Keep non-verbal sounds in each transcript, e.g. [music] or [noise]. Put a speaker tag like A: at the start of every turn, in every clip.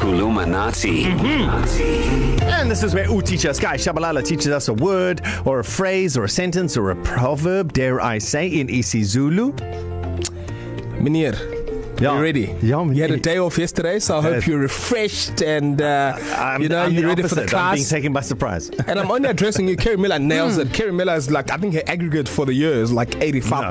A: Kulumanati.
B: And this is where U teacher Sky Shabalala teaches us a word or a phrase or a sentence or a proverb, dare I say, in E isiZulu.
C: Munir,
B: Yeah.
C: yeah. you ready?
B: Yeah, I'm
C: you had a
B: ready.
C: day off yesterday, so I
B: Yes.
C: hope you're refreshed and uh,
B: I'm,
C: you know
B: I'm
C: you're
B: the
C: ready for the
B: opposite. I'm being Hmm.
C: class.
B: taken by surprise.
C: and I'm only addressing you. Kerry Miller nails it. Kerry Miller is like I think her aggregate for the year is like 85 no.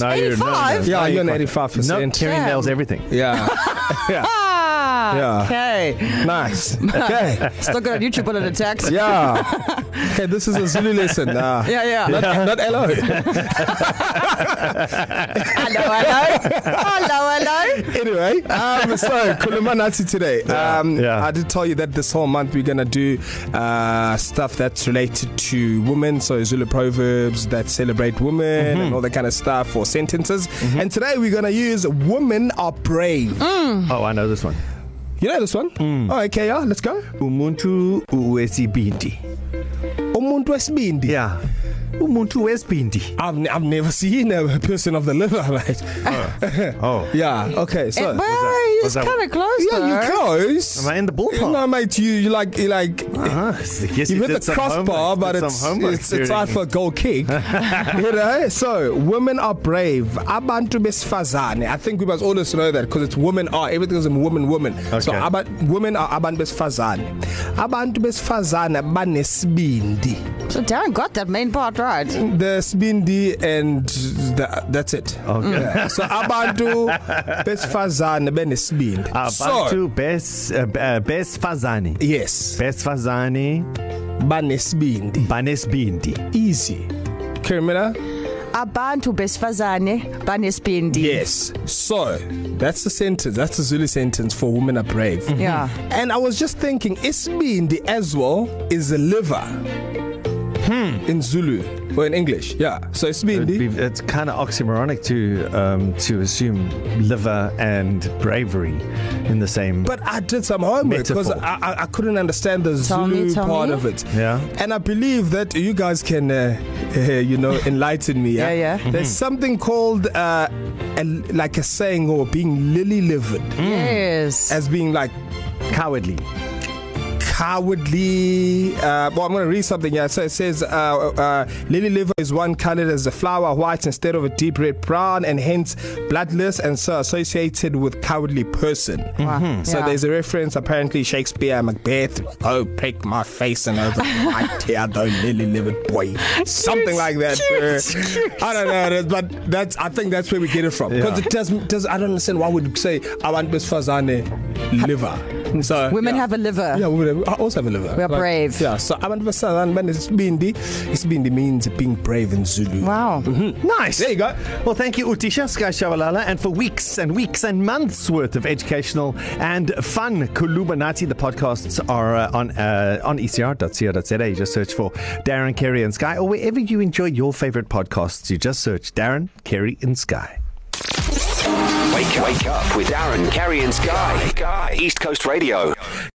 B: [laughs] No, you're- no, no,
D: 85?
C: Yeah,
B: no,
C: you're an
B: not.
C: 85%.
B: Nope, Kerry
D: Damn.
B: nails [laughs] everything.
C: Yeah,
D: Ah,
C: Yeah.
D: Okay.
C: nice. Okay,
D: Still good on YouTube, but a
B: [laughs]
D: text.
C: yeah. Okay, this is a Zulu lesson. Uh,
D: Yeah, yeah.
C: Not, not hello.
D: Hello, hello. hello, hello.
C: anyway, um, so Kulumanati today. Um,
B: yeah.
C: I did tell you that this whole month we're gonna do uh, stuff that's related to women, so Zulu proverbs that celebrate women mm-hmm. and all that kind of stuff or sentences. Mm-hmm. And today we're gonna use "Women are brave." Mm.
B: [laughs] Oh, I know this one.
C: You know this one? Mm. Oh, okay, yeah. Let's go.
B: Umuntu wesibindi.
C: Umuntu wesibindi.
B: Yeah. Umuntu wesibindi.
C: I've, n- I've never seen a person of the [laughs] liver, mate.
B: Oh.
C: Yeah. Okay. So.
D: Well, he was
B: was that-
D: kind of close.
C: yeah,
D: though.
C: you're close.
B: Am I in the ballpark?
C: No, mate. You, you like, you like.
B: Uh-huh. Yes,
C: You hit
B: did
C: the
B: some
C: crossbar,
B: homework,
C: but
B: did
C: it's
B: some homework
C: it's, it's
B: during-
C: out for a
B: [laughs]
C: goal kick. you know? So women are brave. Abantu besifazane. I think we must always know that because it's women are everything is women women. Okay. So
B: Okay.
C: about women are abantu besifazane. Abantu besifazane banesibindi.
D: So Darren got that main part right.
C: The sibindi and the, that's it.
B: Okay. [laughs]
C: Yeah. So abantu besifazane benesibindi. So
B: Abantu bes uh, uh, besifazane.
C: yes,
B: Besifazane
C: banesibindi.
B: banesibindi.
C: Easy. Kermina?
D: Abantu besifazane banesibindi.
C: Yes. So that's the sentence. That's the Zulu sentence for women are brave.
D: Mm-hmm. Yeah.
C: And I was just thinking, isbindi as well is a liver hmm. in Zulu or in English. Yeah. So
B: Hmm. It'd
C: isbindi.
B: be- It's kind of oxymoronic to um, to assume liver and bravery in the same.
C: But I did some homework because
B: Metaphor.
C: I, I, I couldn't understand the
D: Tell
C: Zulu
D: me, tell
C: part
D: me.
C: of it.
B: Yeah.
C: And I believe that you guys can, uh, uh, you know, enlighten me. Yeah,
D: Yeah, yeah.
C: There's
B: Mm-hmm.
C: something called uh, a, like a saying or being lily livered
B: Mm.
D: Yes.
C: as being like
B: cowardly.
C: cowardly. Uh, well, I'm going to read something here. So it says, uh, uh, lily liver is one colored as the flower white instead of a deep red brown, and hence bloodless and so associated with cowardly person.
D: Wow.
C: So
D: Yeah.
C: there's a reference, apparently Shakespeare, Macbeth, oh, prick my face and over my
D: [laughs]
C: tear, thou lily livered boy. Something
D: Cute,
C: like that.
D: cute,
C: uh,
D: cute.
C: I don't know, that- but that's, I think that's where we get it from. Because
B: Yeah.
C: it doesn't, does, I don't understand why we'd say, I want Miss Fazane liver. So,
D: Women
C: yeah.
D: have a liver.
C: Yeah, we we also have a liver.
D: We are brave.
C: Yeah, so abantu besifazane banesibindi. Isibindi means being brave in Zulu. Mm-hmm.
D: Wow.
B: Nice.
C: There you go.
B: Well, thank you, Utisha Sky Shabalala, and for weeks and weeks and months worth of educational and fun Kulubanati. The podcasts are uh, on uh, on ecr.co.za. You just search for Darren, Kerry, and Sky, or wherever you enjoy your favorite podcasts. You just search Darren, Kerry, and Sky.
A: Wake, wake up with Darren, Kerry, and Sky. East Coast Radio.